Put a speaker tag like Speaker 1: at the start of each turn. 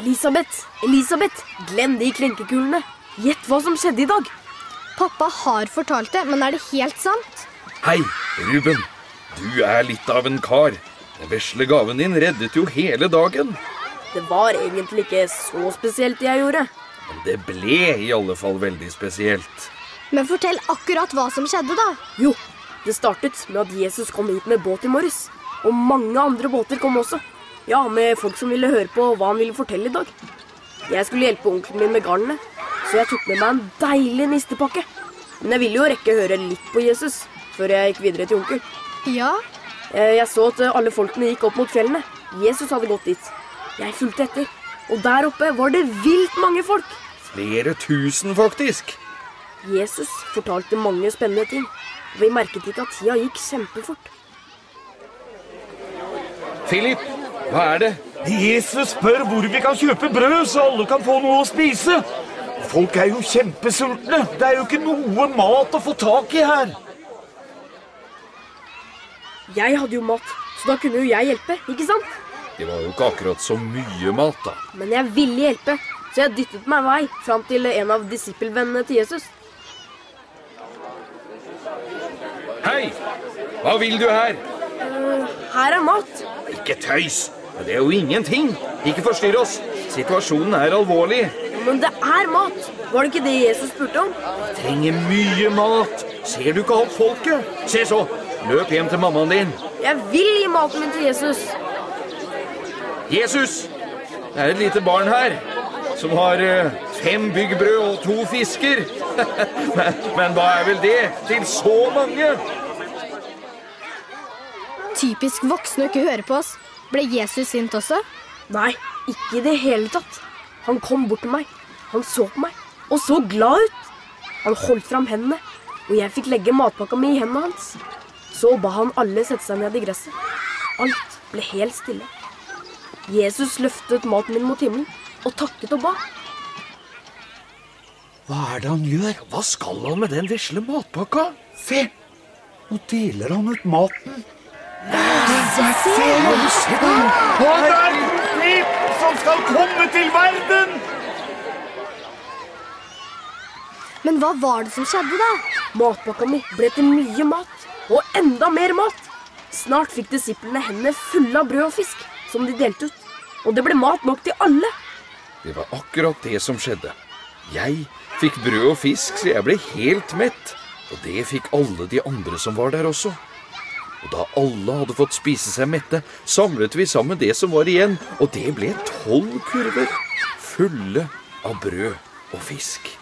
Speaker 1: Elisabeth! Elisabeth! Glem de krenkekulene! Gjett hva som skjedde i dag!
Speaker 2: Pappa har fortalt det, men er det helt sant?
Speaker 3: Hei, Ruben. Du er litt av en kar. Den vesle gaven din reddet jo hele dagen.
Speaker 1: Det var egentlig ikke så spesielt jeg gjorde.
Speaker 3: Men det ble i alle fall veldig spesielt.
Speaker 2: Men fortell akkurat hva som skjedde, da.
Speaker 1: Jo, det startet med at Jesus kom hit med båt i morges. Og mange andre båter kom også. Ja, med folk som ville høre på hva han ville fortelle i dag. Jeg skulle hjelpe onkelen min med garnene, så jeg tok med meg en deilig nistepakke. Men jeg ville jo rekke å høre litt på Jesus før jeg gikk videre til onkel.
Speaker 2: Ja,
Speaker 1: Eh, Jeg så at eh, alle folkene gikk opp mot fjellene. Jesus hadde gått dit. Jeg fulgte etter. Og der oppe var det vilt mange folk.
Speaker 3: Flere tusen, faktisk.
Speaker 1: Jesus fortalte mange spennende ting. og Vi merket ikke at tida gikk kjempefort.
Speaker 3: Philip, hva er det?
Speaker 4: Jesus spør hvor vi kan kjøpe brød, så alle kan få noe å spise. Folk er jo kjempesultne. Det er jo ikke noe mat å få tak i her.
Speaker 1: Jeg hadde jo mat, så da kunne jo jeg hjelpe, ikke sant?
Speaker 3: Det var jo ikke akkurat så mye mat, da.
Speaker 1: Men jeg ville hjelpe, så jeg dyttet meg vei fram til en av disippelvennene til Jesus.
Speaker 3: Hei! Hva vil du her?
Speaker 1: Her er mat.
Speaker 3: Ikke tøys! Men Det er jo ingenting. Ikke forstyrr oss. Situasjonen er alvorlig.
Speaker 1: Men det er mat. Var det ikke det Jesus spurte om?
Speaker 3: Vi trenger mye mat. Ser du ikke alt folket? Se så! Løp hjem til mammaen din.
Speaker 1: Jeg vil gi maten min til Jesus.
Speaker 3: Jesus! Det er et lite barn her som har eh, fem byggbrød og to fisker. men, men hva er vel det til så mange?
Speaker 2: Typisk voksne å ikke høre på oss. Ble Jesus sint også?
Speaker 1: Nei, ikke i det hele tatt. Han kom bort til meg. Han så på meg og så glad ut. Han holdt fram hendene, og jeg fikk legge matpakka mi i hendene hans. Så ba han alle sette seg ned i gresset. Alt ble helt stille. Jesus løftet maten min mot himmelen og takket og ba.
Speaker 4: Hva er det han gjør?
Speaker 3: Hva skal han med den vesle matpakka?
Speaker 4: Se! Nå deler han ut maten. Han er Philip som skal komme til verden!
Speaker 2: Men hva var det som skjedde, da?
Speaker 1: Matpakka mi ble til mye mat, og enda mer mat. Snart fikk disiplene hendene fulle av brød og fisk, som de delte ut. Og det ble mat nok til alle.
Speaker 3: Det var akkurat det som skjedde. Jeg fikk brød og fisk, så jeg ble helt mett. Og det fikk alle de andre som var der også. Og da alle hadde fått spise seg mette, samlet vi sammen det som var igjen, og det ble tolv kurver fulle av brød og fisk.